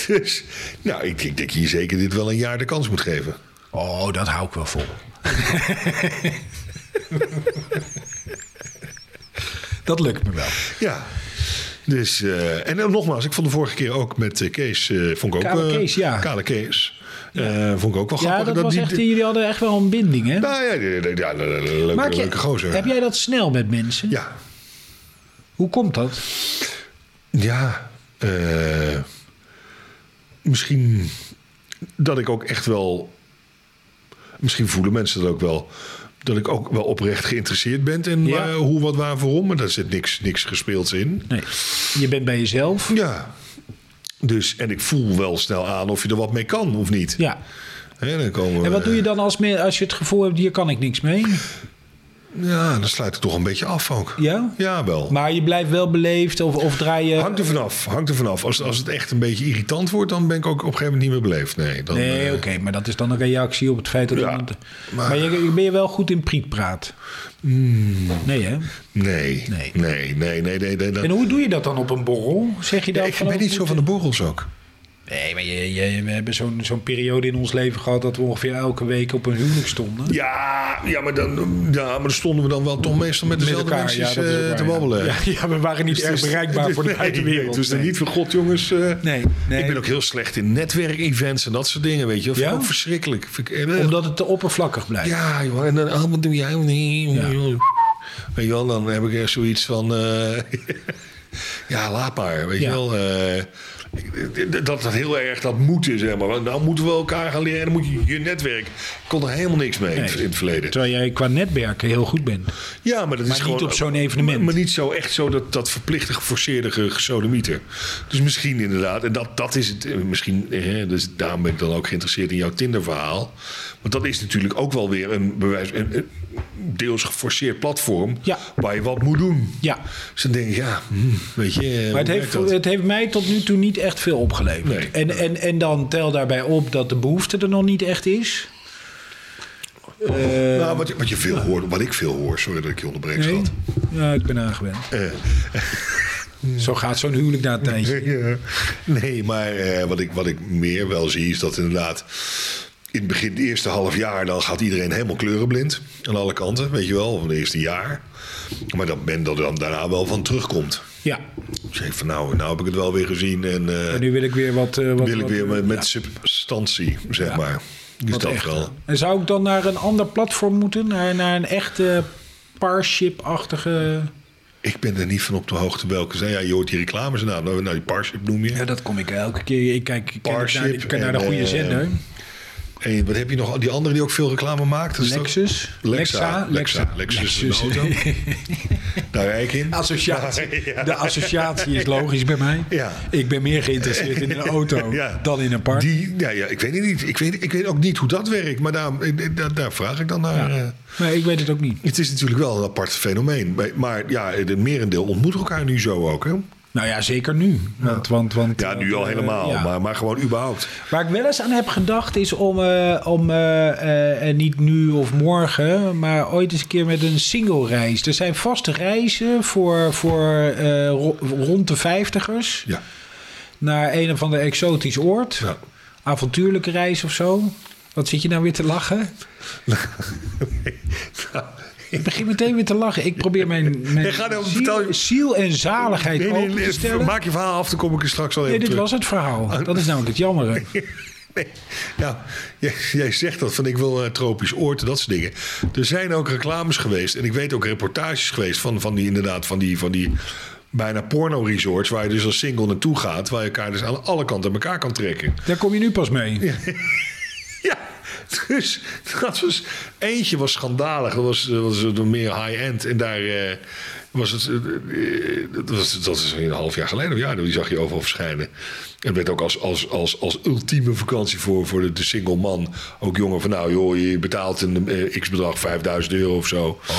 Speaker 5: Dus, nou, ik, ik denk hier zeker dit wel een jaar de kans moet geven.
Speaker 1: Oh, dat hou ik wel vol. *laughs* dat lukt me wel.
Speaker 5: Ja. Dus, eh, en eh, nogmaals, ik vond de vorige keer ook met eh, Kees, eh, vond ik ook...
Speaker 1: Kale
Speaker 5: eh,
Speaker 1: Kees, ja.
Speaker 5: Kale Kees. Eh, vond ik ook wel grappig.
Speaker 1: Ja, dat was
Speaker 5: die-
Speaker 1: echt, jullie hadden echt wel een binding, hè?
Speaker 5: Nou ja, die- die- ja, le- le- le- leuke,
Speaker 1: Maak je-
Speaker 5: leuke gozer.
Speaker 1: Heb jij dat snel met mensen?
Speaker 5: Ja.
Speaker 1: Hoe komt dat?
Speaker 5: Ja. eh, misschien dat ik ook echt wel... Misschien voelen mensen dat ook wel... Dat ik ook wel oprecht geïnteresseerd ben in
Speaker 1: Ja.
Speaker 5: eh, hoe, wat, waar, waarom. Maar daar zit niks, niks gespeelds in.
Speaker 1: Nee, je bent bij jezelf.
Speaker 5: Ja. Dus, en ik voel wel snel aan of je er wat mee kan of niet.
Speaker 1: Ja.
Speaker 5: Hè, dan komen we-
Speaker 1: En wat doe je dan als, me- als je het gevoel hebt, hier kan ik niks mee?
Speaker 5: Ja, dan sluit het toch een beetje af ook.
Speaker 1: Ja?
Speaker 5: Ja, wel.
Speaker 1: Maar eh, je blijft wel beleefd of, of draai je...
Speaker 5: hangt er vanaf. Hangt er vanaf. Als, als het echt een beetje irritant wordt, dan ben ik ook op een gegeven moment niet meer beleefd. Nee, dan,
Speaker 1: Nee,
Speaker 5: eh,
Speaker 1: oké, maar dat is dan een reactie op het feit dat
Speaker 5: Ja,
Speaker 1: iemand... Maar,
Speaker 5: maar-
Speaker 1: je, je- ben je wel goed in prietpraat?
Speaker 5: Hmm.
Speaker 1: Nee, hè?
Speaker 5: nee,
Speaker 1: Nee.
Speaker 5: nee, nee, nee, nee, nee, nee.
Speaker 1: En hoe doe je dat dan op een borrel? Zeg je
Speaker 5: Ja,
Speaker 1: dat
Speaker 5: ik ben niet zo van de borrels ook.
Speaker 1: Nee, maar je, je- we hebben zo'n zo'n periode in ons leven gehad... dat we ongeveer elke week op een huwelijk stonden.
Speaker 5: Ja, ja, maar dan, ja, maar dan stonden we dan wel toch meestal met dezelfde mensen
Speaker 1: dat is ook
Speaker 5: eh,
Speaker 1: waar,
Speaker 5: te
Speaker 1: ja.
Speaker 5: babbelen. Dus
Speaker 1: Ja, ja, we waren niet erg bereikbaar voor de
Speaker 5: Nee,
Speaker 1: buitenwereld.
Speaker 5: Het was dan
Speaker 1: nee.
Speaker 5: niet van god, jongens. eh,
Speaker 1: Nee, nee.
Speaker 5: Ik ben ook heel slecht in netwerkevents en dat soort dingen, weet je. Dat vind ik
Speaker 1: Ja?
Speaker 5: ook verschrikkelijk. Vind ik, eh,
Speaker 1: Omdat het te oppervlakkig blijft.
Speaker 5: Ja, joh, en dan, ah, wat doe jij? Nee, joh. Weet je wel, dan heb ik echt zoiets van... eh, *laughs* ja, laat maar, weet
Speaker 1: Ja.
Speaker 5: je wel. eh, dat dat heel erg dat moeten, zeg maar. Want Dan moeten we elkaar gaan leren. Dan moet je je netwerk... Ik kon er helemaal niks mee in het- in het verleden.
Speaker 1: Terwijl jij qua netwerken heel goed bent.
Speaker 5: Ja, maar dat
Speaker 1: Maar
Speaker 5: is
Speaker 1: niet
Speaker 5: gewoon...
Speaker 1: op zo'n evenement.
Speaker 5: Maar, maar niet zo echt zo dat, dat verplichte geforceerde ge- gesodemieter. Dus misschien inderdaad, en dat, dat is het. eh, Misschien, hè, dus daarom ben ik dan ook geïnteresseerd in jouw Tinder-verhaal. Want dat is natuurlijk ook wel weer een, bewijs, een, een deels geforceerd platform...
Speaker 1: Ja.
Speaker 5: waar je wat moet doen.
Speaker 1: Ja.
Speaker 5: Dus dan denk ik, ja, hmm, weet je... eh, hoe
Speaker 1: Maar het
Speaker 5: werkt
Speaker 1: heeft,
Speaker 5: dat?
Speaker 1: het heeft mij tot nu toe niet echt veel opgeleverd.
Speaker 5: Nee.
Speaker 1: En, en, en dan tel daarbij op dat de behoefte er nog niet echt is. Eh,
Speaker 5: nou, wat, je- wat je veel hoort, wat ik veel hoor, sorry dat ik je onderbreek,
Speaker 1: nee?
Speaker 5: schat.
Speaker 1: Ja, ik ben aangewend.
Speaker 5: Eh.
Speaker 1: *laughs* Zo gaat zo'n huwelijk na een tijdje.
Speaker 5: *laughs* Ja. Nee, maar eh, wat, ik, wat ik meer wel zie is dat inderdaad... In het begin, het eerste half jaar, dan gaat iedereen helemaal kleurenblind. Aan alle kanten, weet je wel, van het eerste jaar. Maar dat men er dan daarna wel van terugkomt.
Speaker 1: Ja,
Speaker 5: zeg van nou, nou heb ik het wel weer gezien en eh,
Speaker 1: En nu wil ik weer wat... eh, wat
Speaker 5: wil ik
Speaker 1: wat-
Speaker 5: weer met, met
Speaker 1: ja,
Speaker 5: substantie, zeg maar. Dus
Speaker 1: wat
Speaker 5: dat
Speaker 1: echt. eh.
Speaker 5: wel.
Speaker 1: En zou ik dan naar een ander platform moeten? Naar, naar een echte Parship-achtige...
Speaker 5: Ik ben er niet van op de hoogte welke zijn. Ja, je hoort die reclames naam. Nou, nou, die Parship noem je.
Speaker 1: Ja, dat kom ik elke keer. Ik kijk, ik kijk
Speaker 5: Parship
Speaker 1: naar, ik kijk naar
Speaker 5: en,
Speaker 1: de goede
Speaker 5: eh,
Speaker 1: zender.
Speaker 5: En wat heb je nog? Die andere die ook veel reclame maakt? Dat is toch-
Speaker 1: Lexus.
Speaker 5: Lexa. Lexa.
Speaker 1: Lexa.
Speaker 5: Lexus is een auto.
Speaker 1: *laughs*
Speaker 5: Daar rijk ik in.
Speaker 1: Associatie.
Speaker 5: *laughs* Ja.
Speaker 1: De associatie is logisch bij mij.
Speaker 5: Ja.
Speaker 1: Ik ben meer geïnteresseerd in een auto
Speaker 5: *laughs* Ja.
Speaker 1: dan in een park.
Speaker 5: Die, ja, ja, ik weet het niet. Ik weet, ik weet ook niet hoe dat werkt. Maar daar, eh, daar, daar vraag ik dan naar. eh.
Speaker 1: Nee, ik weet het ook niet.
Speaker 5: Het is natuurlijk wel een apart fenomeen. Maar- Maar ja, het merendeel ontmoet elkaar nu zo ook. Hè?
Speaker 1: Nou ja, zeker nu. Want, want, want,
Speaker 5: Ja, nu al
Speaker 1: eh,
Speaker 5: helemaal.
Speaker 1: ja.
Speaker 5: Maar, maar gewoon überhaupt.
Speaker 1: Waar ik wel eens aan heb gedacht is om, eh, om eh, eh, en niet nu of morgen, maar ooit eens een keer met een single reis. Er zijn vaste reizen voor, voor eh, ro- rond de vijftigers
Speaker 5: Ja.
Speaker 1: naar een of ander exotisch oord.
Speaker 5: *laughs* ja.
Speaker 1: Avontuurlijke reis of zo. Wat zit je nou weer te lachen? Ik begin meteen weer te lachen. Ik probeer mijn, mijn
Speaker 5: Ik ga nou
Speaker 1: ziel,
Speaker 5: vertellen-
Speaker 1: ziel en zaligheid
Speaker 5: Nee, nee,
Speaker 1: open te
Speaker 5: nee,
Speaker 1: stellen.
Speaker 5: maak je verhaal af, dan kom ik er straks al
Speaker 1: Nee,
Speaker 5: even
Speaker 1: dit
Speaker 5: terug. Ah.
Speaker 1: was het verhaal. Dat is namelijk het jammeren.
Speaker 5: *laughs* Nee. Ja, jij, jij zegt dat van ik wil eh, tropisch oorten, dat soort dingen. Er zijn ook reclames geweest en ik weet ook reportages geweest van, van die inderdaad van die, van die bijna porno resorts waar je dus als single naartoe gaat, waar je elkaar dus aan alle kanten aan elkaar kan trekken. *laughs*
Speaker 1: Daar kom je nu pas mee.
Speaker 5: Ja, dus dat was eentje was schandalig, dat was, eh, was het meer high end en daar eh, was het, eh, eh, dat was dat is een half jaar geleden, of ja, die zag je overal verschijnen. Het werd ook als, als, als, als ultieme vakantie voor, voor de, de single man. Ook jongen van nou joh, je betaalt een eh, x-bedrag 5000 euro of zo. Oh.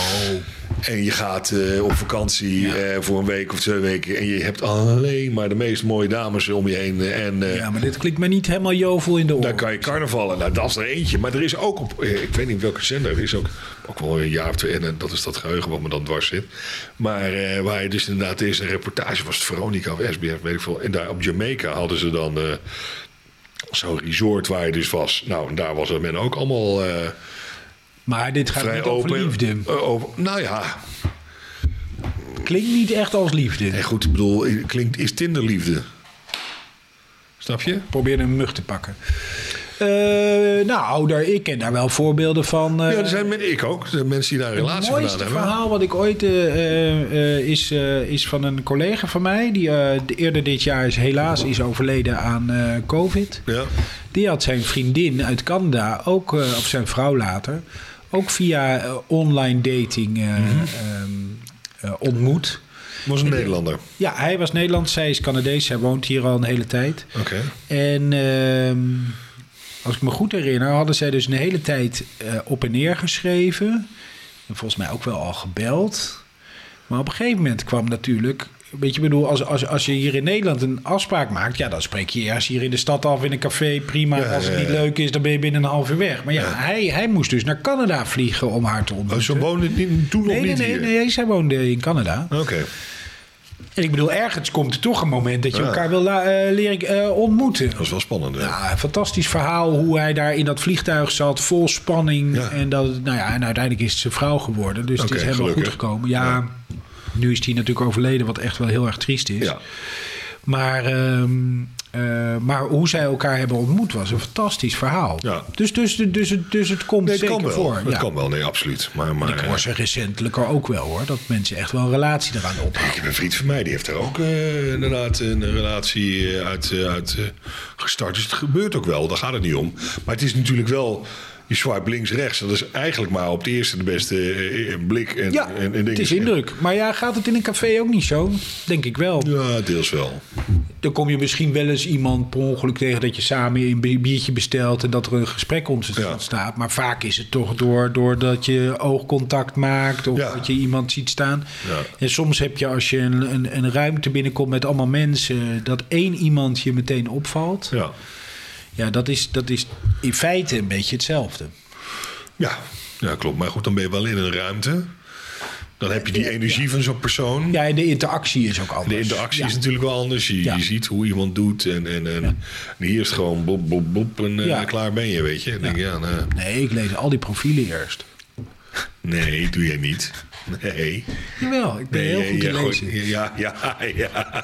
Speaker 5: En je gaat eh, op vakantie eh, voor een week of twee weken. En je hebt alleen maar de meest mooie dames om je heen. eh, En, eh,
Speaker 1: Ja, maar dit klinkt mij niet helemaal jovel in de
Speaker 5: daar
Speaker 1: oren.
Speaker 5: kan je carnavallen. Nou, dat is er eentje. Maar er is ook op, eh, ik weet niet welke zender, er is ook, ook wel een jaar of twee. En eh, dat is dat geheugen wat me dan dwars zit. Maar eh, waar je dus inderdaad is, een reportage was het Veronica of SBF, weet ik veel. En daar op Jamaica hadden ze dan eh, zo'n resort waar je dus was. Nou, en daar was het men ook allemaal eh,
Speaker 1: Maar dit gaat
Speaker 5: vrij
Speaker 1: niet over
Speaker 5: open.
Speaker 1: liefde.
Speaker 5: Eh, over- nou ja,
Speaker 1: Klinkt niet echt als
Speaker 5: en
Speaker 1: liefde.
Speaker 5: goed, ik bedoel, eh, klinkt, is Tinder liefde? Snap je?
Speaker 1: Probeer een mug te pakken. Eh, nou, daar, ik ken daar wel voorbeelden van. eh,
Speaker 5: Ja, er zijn men, ik ook. Er zijn mensen die daar een
Speaker 1: Het
Speaker 5: relatie vandaan
Speaker 1: mooiste
Speaker 5: hebben.
Speaker 1: verhaal wat ik ooit eh, eh, eh, is, eh, is van een collega van mij. Die eh, eerder dit jaar is helaas is overleden aan eh, COVID.
Speaker 5: Ja.
Speaker 1: Die had zijn vriendin uit Canada, ook, eh, of zijn vrouw later, ook via eh, online dating eh, ehm, eh, ontmoet.
Speaker 5: Was een Nederlander.
Speaker 1: Ja, hij was Nederlands, zij is Canadees, zij woont hier al een hele tijd.
Speaker 5: Oké.
Speaker 1: En ehm, als ik me goed herinner, hadden zij dus een hele tijd eh, op en neer geschreven. En volgens mij ook wel al gebeld. Maar op een gegeven moment kwam natuurlijk. Weet je, ik bedoel, als, als, als je hier in Nederland een afspraak maakt, ja, dan spreek je eerst hier in de stad af in een café. Prima.
Speaker 5: Ja,
Speaker 1: als het
Speaker 5: ja,
Speaker 1: niet
Speaker 5: ja.
Speaker 1: leuk is, dan ben je binnen een half uur weg. Maar ja, Hij, hij moest dus naar Canada vliegen om haar te
Speaker 5: Oh,
Speaker 1: ontmoeten.
Speaker 5: ze woonden niet- toen
Speaker 1: nee,
Speaker 5: nog
Speaker 1: nee,
Speaker 5: niet
Speaker 1: nee,
Speaker 5: hier?
Speaker 1: nee, zij woonde in Canada.
Speaker 5: Oké.
Speaker 1: En ik bedoel, ergens komt er toch een moment dat je
Speaker 5: Ja.
Speaker 1: elkaar wil la- eh, leren eh, ontmoeten.
Speaker 5: Dat is wel spannend. hè?
Speaker 1: Ja, Ah, een fantastisch verhaal hoe hij daar in dat vliegtuig zat, vol spanning.
Speaker 5: Ja.
Speaker 1: En, dat, nou ja, en uiteindelijk is het zijn vrouw geworden, dus
Speaker 5: Oké,
Speaker 1: het is helemaal
Speaker 5: gelukkig.
Speaker 1: goed gekomen. Ja, nu is hij natuurlijk overleden, wat echt wel heel erg triest is.
Speaker 5: Ja. Dus
Speaker 1: Maar, ehm, eh, maar hoe zij elkaar hebben ontmoet was een fantastisch verhaal.
Speaker 5: Ja.
Speaker 1: Dus, dus, dus, het- dus het komt
Speaker 5: Nee, het
Speaker 1: zeker
Speaker 5: kan wel.
Speaker 1: voor.
Speaker 5: Het kan wel, nee, absoluut. Maar, maar
Speaker 1: Ik hoor ze recentelijk ook wel hoor, dat mensen echt wel een relatie eraan ophouden.
Speaker 5: eh, ik heb een vriend van mij, die heeft daar ook eh, inderdaad een relatie eh, uit, eh, uit eh, gestart. Dus het gebeurt ook wel, daar gaat het niet om. Maar het is natuurlijk wel, je swipe links-rechts. Dat is eigenlijk maar op de eerste de beste eh, eh, blik. En,
Speaker 1: Ja,
Speaker 5: en, en
Speaker 1: het
Speaker 5: dingen.
Speaker 1: is indruk. Maar ja, gaat het in een café ook niet zo? Denk ik wel.
Speaker 5: Ja, deels wel.
Speaker 1: Dan kom je misschien wel eens iemand per ongeluk tegen dat je samen een bi- biertje bestelt en dat er een gesprek
Speaker 5: Ja.
Speaker 1: ontstaat. staat. Maar vaak is het toch door, doordat je oogcontact maakt of
Speaker 5: Ja.
Speaker 1: dat je iemand ziet staan.
Speaker 5: Ja.
Speaker 1: En soms heb je als je een, een, een ruimte binnenkomt met allemaal mensen, dat één iemand je meteen opvalt. Ja,
Speaker 5: Ja.
Speaker 1: dat, is, dat is in feite een beetje hetzelfde.
Speaker 5: Ja. ja, klopt. Maar goed, dan ben je wel in een ruimte. Dan heb je die energie van zo'n persoon.
Speaker 1: Ja, en de interactie is ook anders.
Speaker 5: De interactie
Speaker 1: Ja.
Speaker 5: is natuurlijk wel anders. Je,
Speaker 1: Ja.
Speaker 5: je ziet hoe iemand doet. En, en, en, en hier is het gewoon boep, boep, boep. En eh,
Speaker 1: Ja.
Speaker 5: klaar ben je, weet je. En denk, ik, ja, nou,
Speaker 1: Nee, ik lees al die profielen eerst.
Speaker 5: nee, doe jij niet. Nee.
Speaker 1: Jawel, ik ben
Speaker 5: Nee,
Speaker 1: heel
Speaker 5: je-
Speaker 1: goed
Speaker 5: je
Speaker 1: in
Speaker 5: gooit-
Speaker 1: lezen.
Speaker 5: Ja, ja, *laughs* ja.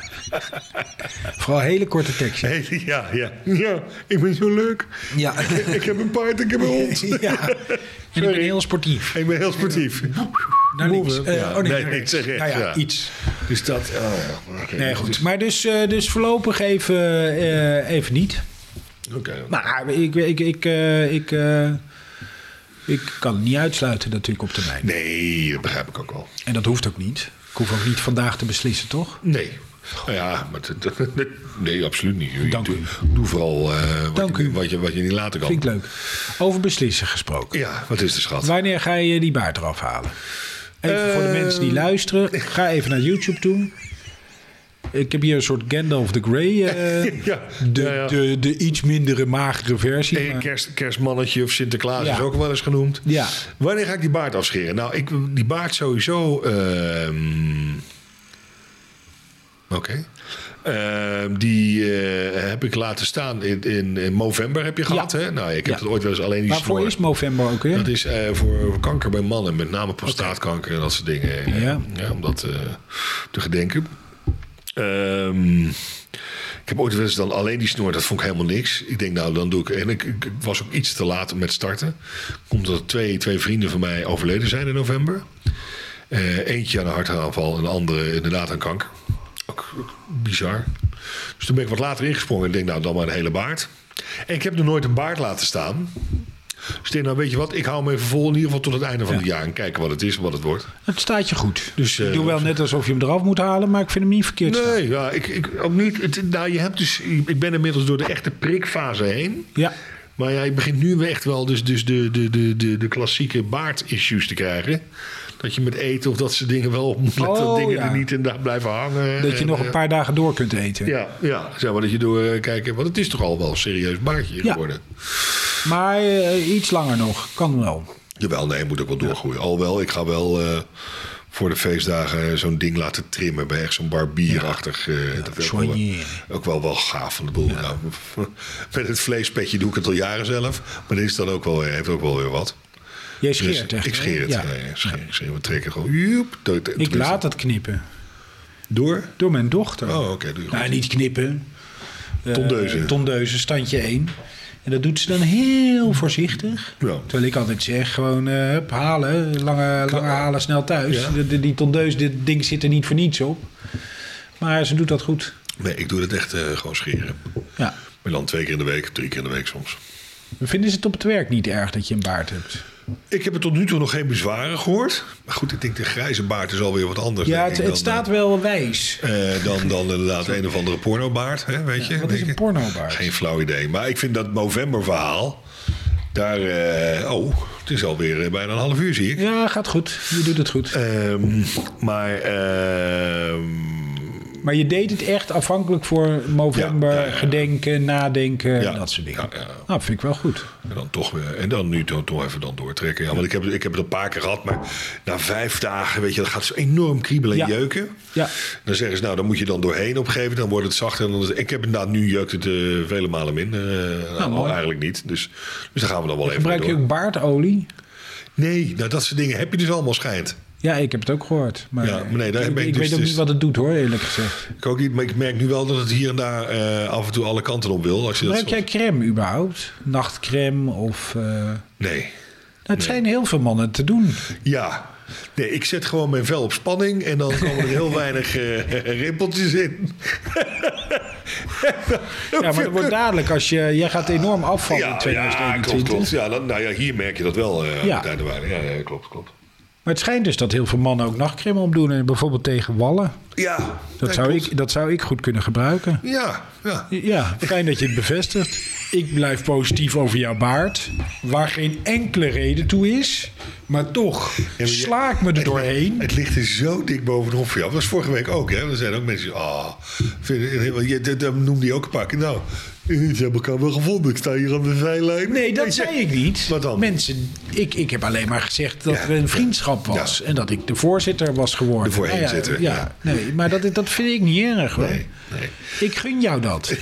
Speaker 1: Vooral hele korte
Speaker 5: *laughs*
Speaker 1: teksten.
Speaker 5: Hey, ja, ja. Ja, ik ben zo leuk.
Speaker 1: Ja.
Speaker 5: *laughs* Ik heb een paard, ik heb een hond.
Speaker 1: ja. En ik ben heel sportief.
Speaker 5: Ik ben heel sportief.
Speaker 1: Naar links.
Speaker 5: Move,
Speaker 1: Eh,
Speaker 5: ja.
Speaker 1: oh nee,
Speaker 5: Nee,
Speaker 1: naar
Speaker 5: ik
Speaker 1: rechts.
Speaker 5: zeg rechts,
Speaker 1: Nou ja,
Speaker 5: ja.
Speaker 1: iets.
Speaker 5: Dus dat... Oh, oké.
Speaker 1: Nee, goed. Maar dus, eh, dus voorlopig even, eh, even niet.
Speaker 5: Oké.
Speaker 1: Maar ah, ik, ik, ik, eh, ik, eh, ik kan het niet uitsluiten natuurlijk op termijn.
Speaker 5: Nee, dat begrijp ik ook wel.
Speaker 1: En dat hoeft ook niet. Ik hoef ook niet vandaag te beslissen, toch?
Speaker 5: Nee. Nou ja, maar dat- dat- dat- nee, absoluut niet. Je
Speaker 1: Dank
Speaker 5: doe,
Speaker 1: u.
Speaker 5: doe vooral eh, wat,
Speaker 1: Dank
Speaker 5: je,
Speaker 1: u.
Speaker 5: Wat, je, wat je niet later kan.
Speaker 1: Vind ik leuk. Over beslissen gesproken.
Speaker 5: Ja, wat is de schat?
Speaker 1: Wanneer ga je die baard eraf halen? Even voor de
Speaker 5: Eh,
Speaker 1: mensen die luisteren. Ga even naar YouTube toe. Ik heb hier een soort Gandalf the Grey. eh,
Speaker 5: *laughs* Ja,
Speaker 1: de,
Speaker 5: ja, ja.
Speaker 1: De, de iets mindere magere versie.
Speaker 5: Eh,
Speaker 1: maar-
Speaker 5: kerst, kerstmannetje of Sinterklaas
Speaker 1: Ja.
Speaker 5: is ook wel eens genoemd.
Speaker 1: Ja.
Speaker 5: Wanneer ga ik die baard afscheren? Nou, ik, die baard sowieso. ehm, Oké. Ehm, die eh, heb ik laten staan in, in, in november heb je gehad. Hè? Nou, ik heb
Speaker 1: Ja.
Speaker 5: het ooit wel eens alleen die
Speaker 1: Waarvoor
Speaker 5: snor-
Speaker 1: is november ook weer?
Speaker 5: Dat is eh, voor kanker bij mannen, met name prostaatkanker en dat soort dingen. eh,
Speaker 1: Ja.
Speaker 5: om dat eh, te gedenken. Ehm, ik heb ooit wel eens dan alleen die snor, dat vond ik helemaal niks. Ik denk, nou, dan doe ik. En ik, ik was ook iets te laat met starten. Omdat twee, twee vrienden van mij overleden zijn in november. Eh, eentje aan een hartaanval en de andere inderdaad aan kanker. Ook, ook bizar. Dus toen ben ik wat later ingesprongen. Ik denk, nou, dan maar een hele baard. En ik heb nog nooit een baard laten staan. Dus ik denk, nou, weet je wat, ik hou hem even vol in ieder geval tot het einde van het jaar. En kijken wat het is en wat het wordt.
Speaker 1: Het staat je goed.
Speaker 5: Dus,
Speaker 1: ik
Speaker 5: eh,
Speaker 1: doe wel net alsof je hem eraf moet halen, maar ik vind hem niet verkeerd. staan.
Speaker 5: Nee, ja, ik, ik, ook niet. Het, nou, je hebt dus, ik ben inmiddels door de echte prikfase heen.
Speaker 1: Ja,
Speaker 5: Maar ja, je begint nu weer echt wel dus, dus de, de, de, de, de klassieke baard-issues te krijgen. Dat je met eten of dat soort dingen wel op moet letten.
Speaker 1: Oh,
Speaker 5: dat dingen
Speaker 1: ja.
Speaker 5: er niet in da- blijven hangen.
Speaker 1: dat je
Speaker 5: En,
Speaker 1: nog
Speaker 5: eh,
Speaker 1: een paar dagen door kunt eten.
Speaker 5: Ja, ja, zeg maar dat je door eh, kijken. Want het is toch al wel een serieus baardje
Speaker 1: Ja.
Speaker 5: geworden.
Speaker 1: Maar eh, iets langer nog, kan wel.
Speaker 5: Jawel, nee, moet ook wel doorgroeien. Alhoewel, ik ga wel eh, voor de feestdagen zo'n ding laten trimmen. Bij echt zo'n barbierachtig. eh dat vind ik ook wel-
Speaker 1: soigneren.
Speaker 5: ook wel wel gaaf van de boel. Nou, *laughs* met het vleespetje doe ik het al jaren zelf. Maar dit is dan ook wel, weer- heeft ook wel weer wat.
Speaker 1: Jij
Speaker 5: Dus
Speaker 1: scheert echt.
Speaker 5: ik
Speaker 1: hè?
Speaker 5: scheer het.
Speaker 1: Ja.
Speaker 5: Ja. ik scheer, ik scheer, we trekken gewoon. Joep, do-
Speaker 1: Ik
Speaker 5: tenminste,
Speaker 1: laat het knippen.
Speaker 5: Door?
Speaker 1: Door mijn dochter.
Speaker 5: Oh, oké. doe je goed.
Speaker 1: Nou, niet knippen. Eh,
Speaker 5: Tondeuzen.
Speaker 1: tondeuzen, standje 1. En dat doet ze dan heel voorzichtig.
Speaker 5: Ja.
Speaker 1: Terwijl ik altijd zeg, gewoon eh, hup, halen. Lange, lange halen, snel thuis.
Speaker 5: Ja.
Speaker 1: De- de- die tondeus, dit ding zit er niet voor niets op. Maar ze doet dat goed.
Speaker 5: Nee, ik doe dat echt eh, gewoon scheren.
Speaker 1: Ja.
Speaker 5: Maar dan twee keer in de week, drie keer in de week soms.
Speaker 1: Vinden ze het op het werk niet erg dat je een baard hebt?
Speaker 5: Ik heb er tot nu toe nog geen bezwaren gehoord. Maar goed, ik denk de grijze baard is alweer wat anders.
Speaker 1: Ja,
Speaker 5: denk
Speaker 1: het, het
Speaker 5: ik, dan,
Speaker 1: staat wel wijs.
Speaker 5: eh, dan, dan inderdaad een of andere pornobaard, hè, weet je.
Speaker 1: Wat is
Speaker 5: denk
Speaker 1: een
Speaker 5: ik.
Speaker 1: pornobaard?
Speaker 5: Geen flauw idee. Maar ik vind dat november verhaal, daar... eh, oh, het is alweer eh, bijna een half uur, zie ik.
Speaker 1: Ja, gaat goed. Je doet het goed.
Speaker 5: Ehm, maar ehm,
Speaker 1: Maar je deed het echt afhankelijk voor november.
Speaker 5: Ja, ja, ja, ja.
Speaker 1: Gedenken, nadenken,
Speaker 5: Ja,
Speaker 1: dat soort dingen.
Speaker 5: ja, ja.
Speaker 1: Nou, vind ik wel goed.
Speaker 5: en dan toch weer, en dan nu toch, toch even dan doortrekken. Ja, want ik heb, ik heb het een paar keer gehad, maar na vijf dagen, weet je, dat gaat zo enorm kriebelen en
Speaker 1: Ja.
Speaker 5: jeuken.
Speaker 1: Ja.
Speaker 5: Dan zeggen ze, nou, dan moet je dan doorheen opgeven, dan wordt het zachter. En dan, ik heb inderdaad, nu jeukt het eh, vele malen minder. eh,
Speaker 1: Nou, mooi.
Speaker 5: eigenlijk niet, dus, dus daar gaan we dan wel even
Speaker 1: Gebruik
Speaker 5: mee
Speaker 1: je
Speaker 5: door.
Speaker 1: ook baardolie?
Speaker 5: Nee, nou, dat soort dingen heb je dus allemaal schijnt.
Speaker 1: Ja, ik heb het ook gehoord. Maar
Speaker 5: Ja, maar nee, daar
Speaker 1: ik,
Speaker 5: ben ik
Speaker 1: ik
Speaker 5: dus-
Speaker 1: weet ook
Speaker 5: dus-
Speaker 1: niet wat het doet hoor, eerlijk gezegd.
Speaker 5: Ik ook niet, maar ik merk nu wel dat het hier en daar eh, af en toe alle kanten op wil. Als je dat
Speaker 1: Gebruik
Speaker 5: zo-
Speaker 1: jij crème überhaupt? Nachtcreme of... eh,
Speaker 5: Nee.
Speaker 1: Nou, het zijn heel veel mannen te
Speaker 5: *laughs*
Speaker 1: doen.
Speaker 5: Ja. Nee, ik zet gewoon mijn vel op spanning en dan komen er
Speaker 1: *laughs*
Speaker 5: heel weinig eh, rimpeltjes in.
Speaker 1: Ja, maar dat
Speaker 5: *laughs*
Speaker 1: wordt dadelijk als je... Jij gaat enorm afvallen in
Speaker 5: ja, klopt,
Speaker 1: 2021.
Speaker 5: klopt. Ja, dan, nou ja, hier merk je dat wel. eh,
Speaker 1: Ja.
Speaker 5: aan het einde waar. ja, ja, klopt, klopt.
Speaker 1: Maar het schijnt dus dat heel veel mannen ook nachtcreme opdoen. En bijvoorbeeld tegen wallen.
Speaker 5: Ja,
Speaker 1: Dat,
Speaker 5: ja,
Speaker 1: zou,
Speaker 5: klopt.
Speaker 1: ik, dat zou ik goed kunnen gebruiken.
Speaker 5: Ja, ja.
Speaker 1: Ja, fijn dat je het bevestigt. Ik blijf positief over jouw baard. Waar geen enkele reden toe is. Maar toch,
Speaker 5: je-
Speaker 1: sla ik me er doorheen.
Speaker 5: Het ligt er zo dik bovenop voor jou. Dat was vorige week ook, hè? Er zijn ook mensen die. ah, vinden- je- dat- dat noemde je ook een paar keer. Nou, ik heb elkaar wel gevonden. Ik sta hier aan de zijlijn.
Speaker 1: Nee, dat zei ik niet.
Speaker 5: Wat dan?
Speaker 1: Mensen, ik, ik heb alleen maar gezegd dat
Speaker 5: Ja.
Speaker 1: er een vriendschap was. En dat ik de voorzitter was geworden.
Speaker 5: De voorheenzitter,
Speaker 1: Nou ja,
Speaker 5: ja.
Speaker 1: ja, Nee, maar dat, dat vind ik niet erg hoor.
Speaker 5: Nee, nee.
Speaker 1: Ik gun jou
Speaker 5: *laughs*
Speaker 1: dat.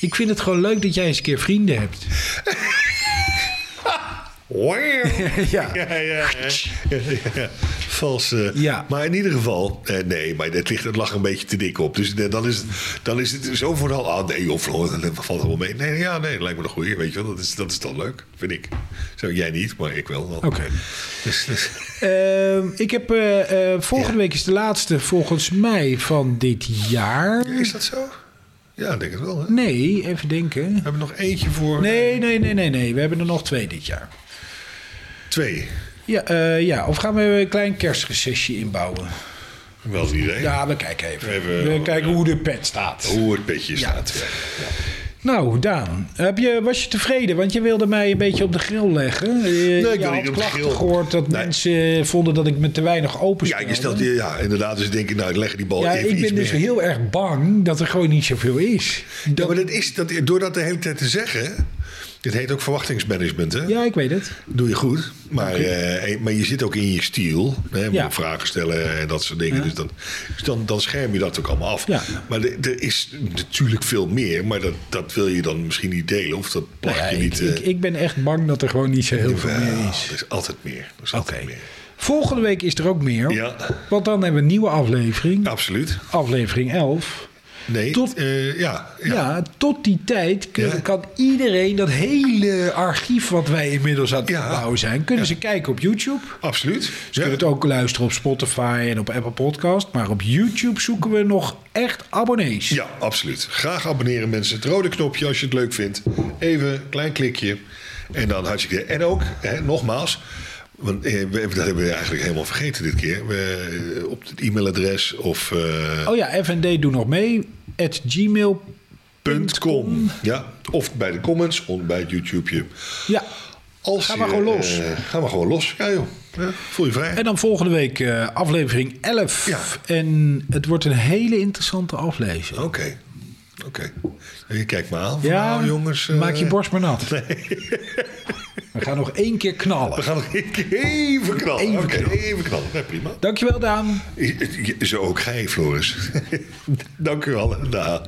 Speaker 1: ik vind het gewoon leuk dat jij eens een keer vrienden hebt. *laughs* Ja.
Speaker 5: ja, ja, ja, ja. Vals. eh,
Speaker 1: Ja.
Speaker 5: Maar in ieder geval, eh, nee, maar het, ligt, het lag een beetje te dik op. Dus eh, dan, is het, dan is het zo vooral. Ah, nee, joh, Floor, dat valt allemaal mee. Nee, ja, nee, lijkt me nog goed. Weet je wel, dat is, dat is dan leuk, vind ik. Zo, jij niet, maar ik wel.
Speaker 1: Oké. Ehm, ik heb eh, eh, volgende
Speaker 5: Ja.
Speaker 1: week is de laatste volgens mij van dit jaar.
Speaker 5: *laughs* Is dat zo? Ja, ik denk het wel. Hè? We
Speaker 1: Nee, even denken.
Speaker 5: hebben nog eentje voor
Speaker 1: Nee, nee, nee, nee, nee. We hebben er nog twee dit jaar.
Speaker 5: twee.
Speaker 1: Ja, eh, ja. of gaan we een klein kerstrecessie inbouwen?
Speaker 5: Wel een idee.
Speaker 1: Ja, we kijken even.
Speaker 5: Even,
Speaker 1: we
Speaker 5: eh,
Speaker 1: kijken hoe de pet staat.
Speaker 5: Hoe het petje staat.
Speaker 1: Nou, Daan, heb je, was je tevreden? Want je wilde mij een beetje op de grill leggen. Nee,
Speaker 5: wilde
Speaker 1: je
Speaker 5: niet
Speaker 1: had
Speaker 5: op de
Speaker 1: klachten
Speaker 5: grill.
Speaker 1: gehoord dat
Speaker 5: Nee.
Speaker 1: mensen vonden dat ik me te weinig open
Speaker 5: Ja, je stelt, ja, inderdaad. Dus denk ik, nou, ik leg die bal
Speaker 1: Ja,
Speaker 5: even
Speaker 1: ik
Speaker 5: iets
Speaker 1: ben dus
Speaker 5: meer.
Speaker 1: heel erg bang dat er gewoon niet zoveel is.
Speaker 5: Ja, maar dat is, dat, door dat de hele tijd te zeggen... Dit heet ook verwachtingsmanagement, hè?
Speaker 1: Ja, ik weet het.
Speaker 5: Doe je goed. Maar, eh, eh, maar je zit ook in je stiel. Hè, moet
Speaker 1: Ja.
Speaker 5: ook vragen stellen en dat soort dingen. Dus, dan, dus dan, dan scherm je dat ook allemaal af.
Speaker 1: Ja.
Speaker 5: Maar de- er is natuurlijk veel meer. Maar dat, dat wil je dan misschien niet delen. Of dat plak
Speaker 1: Nou ja,
Speaker 5: je
Speaker 1: ik,
Speaker 5: niet...
Speaker 1: ik,
Speaker 5: eh,
Speaker 1: ik ben echt bang dat er gewoon niet zo heel veel
Speaker 5: wel,
Speaker 1: meer is.
Speaker 5: er is altijd meer. Er is altijd meer.
Speaker 1: Volgende week is er ook meer.
Speaker 5: Ja.
Speaker 1: Want dan hebben we een nieuwe aflevering.
Speaker 5: Absoluut.
Speaker 1: Aflevering 11.
Speaker 5: Nee.
Speaker 1: Tot-
Speaker 5: eh, ja, ja.
Speaker 1: Ja, tot die tijd kun-
Speaker 5: Ja.
Speaker 1: kan iedereen dat hele archief wat wij inmiddels aan het
Speaker 5: Ja.
Speaker 1: bouwen zijn, kunnen ze kijken op YouTube.
Speaker 5: Absoluut.
Speaker 1: Ze
Speaker 5: Ja.
Speaker 1: kunnen het ook luisteren op Spotify en op Apple Podcast. Maar op YouTube zoeken we nog echt abonnees.
Speaker 5: Ja, absoluut. Graag abonneren mensen. Het rode knopje als je het leuk vindt. Even een klein klikje. En dan hartstikke. En ook, hè, nogmaals. Want eh, we, dat hebben we eigenlijk helemaal vergeten dit keer. We, eh, op het e-mailadres of eh,
Speaker 1: Oh ja, FND doe nog mee. At gmail.
Speaker 5: .com. Ja, of bij de comments of bij het YouTube.
Speaker 1: Ja.
Speaker 5: Als
Speaker 1: Ga
Speaker 5: je,
Speaker 1: maar gewoon los.
Speaker 5: eh, ga maar gewoon los. Ja joh, Ja, voel je vrij.
Speaker 1: En dan volgende week eh, aflevering 11.
Speaker 5: Ja.
Speaker 1: En het wordt een hele interessante aflevering.
Speaker 5: Oké, oké. Je kijkt me aan.
Speaker 1: Ja,
Speaker 5: nou, jongens. eh,
Speaker 1: maak je borst maar
Speaker 5: *laughs*
Speaker 1: nat. We gaan nog één keer knallen.
Speaker 5: We gaan nog *laughs* een keer even knallen.
Speaker 1: Even
Speaker 5: Oké,
Speaker 1: knallen.
Speaker 5: even knallen. Ja, prima.
Speaker 1: Dankjewel, Daan.
Speaker 5: *laughs* Zo ook gij, Floris. Dank u wel. Da.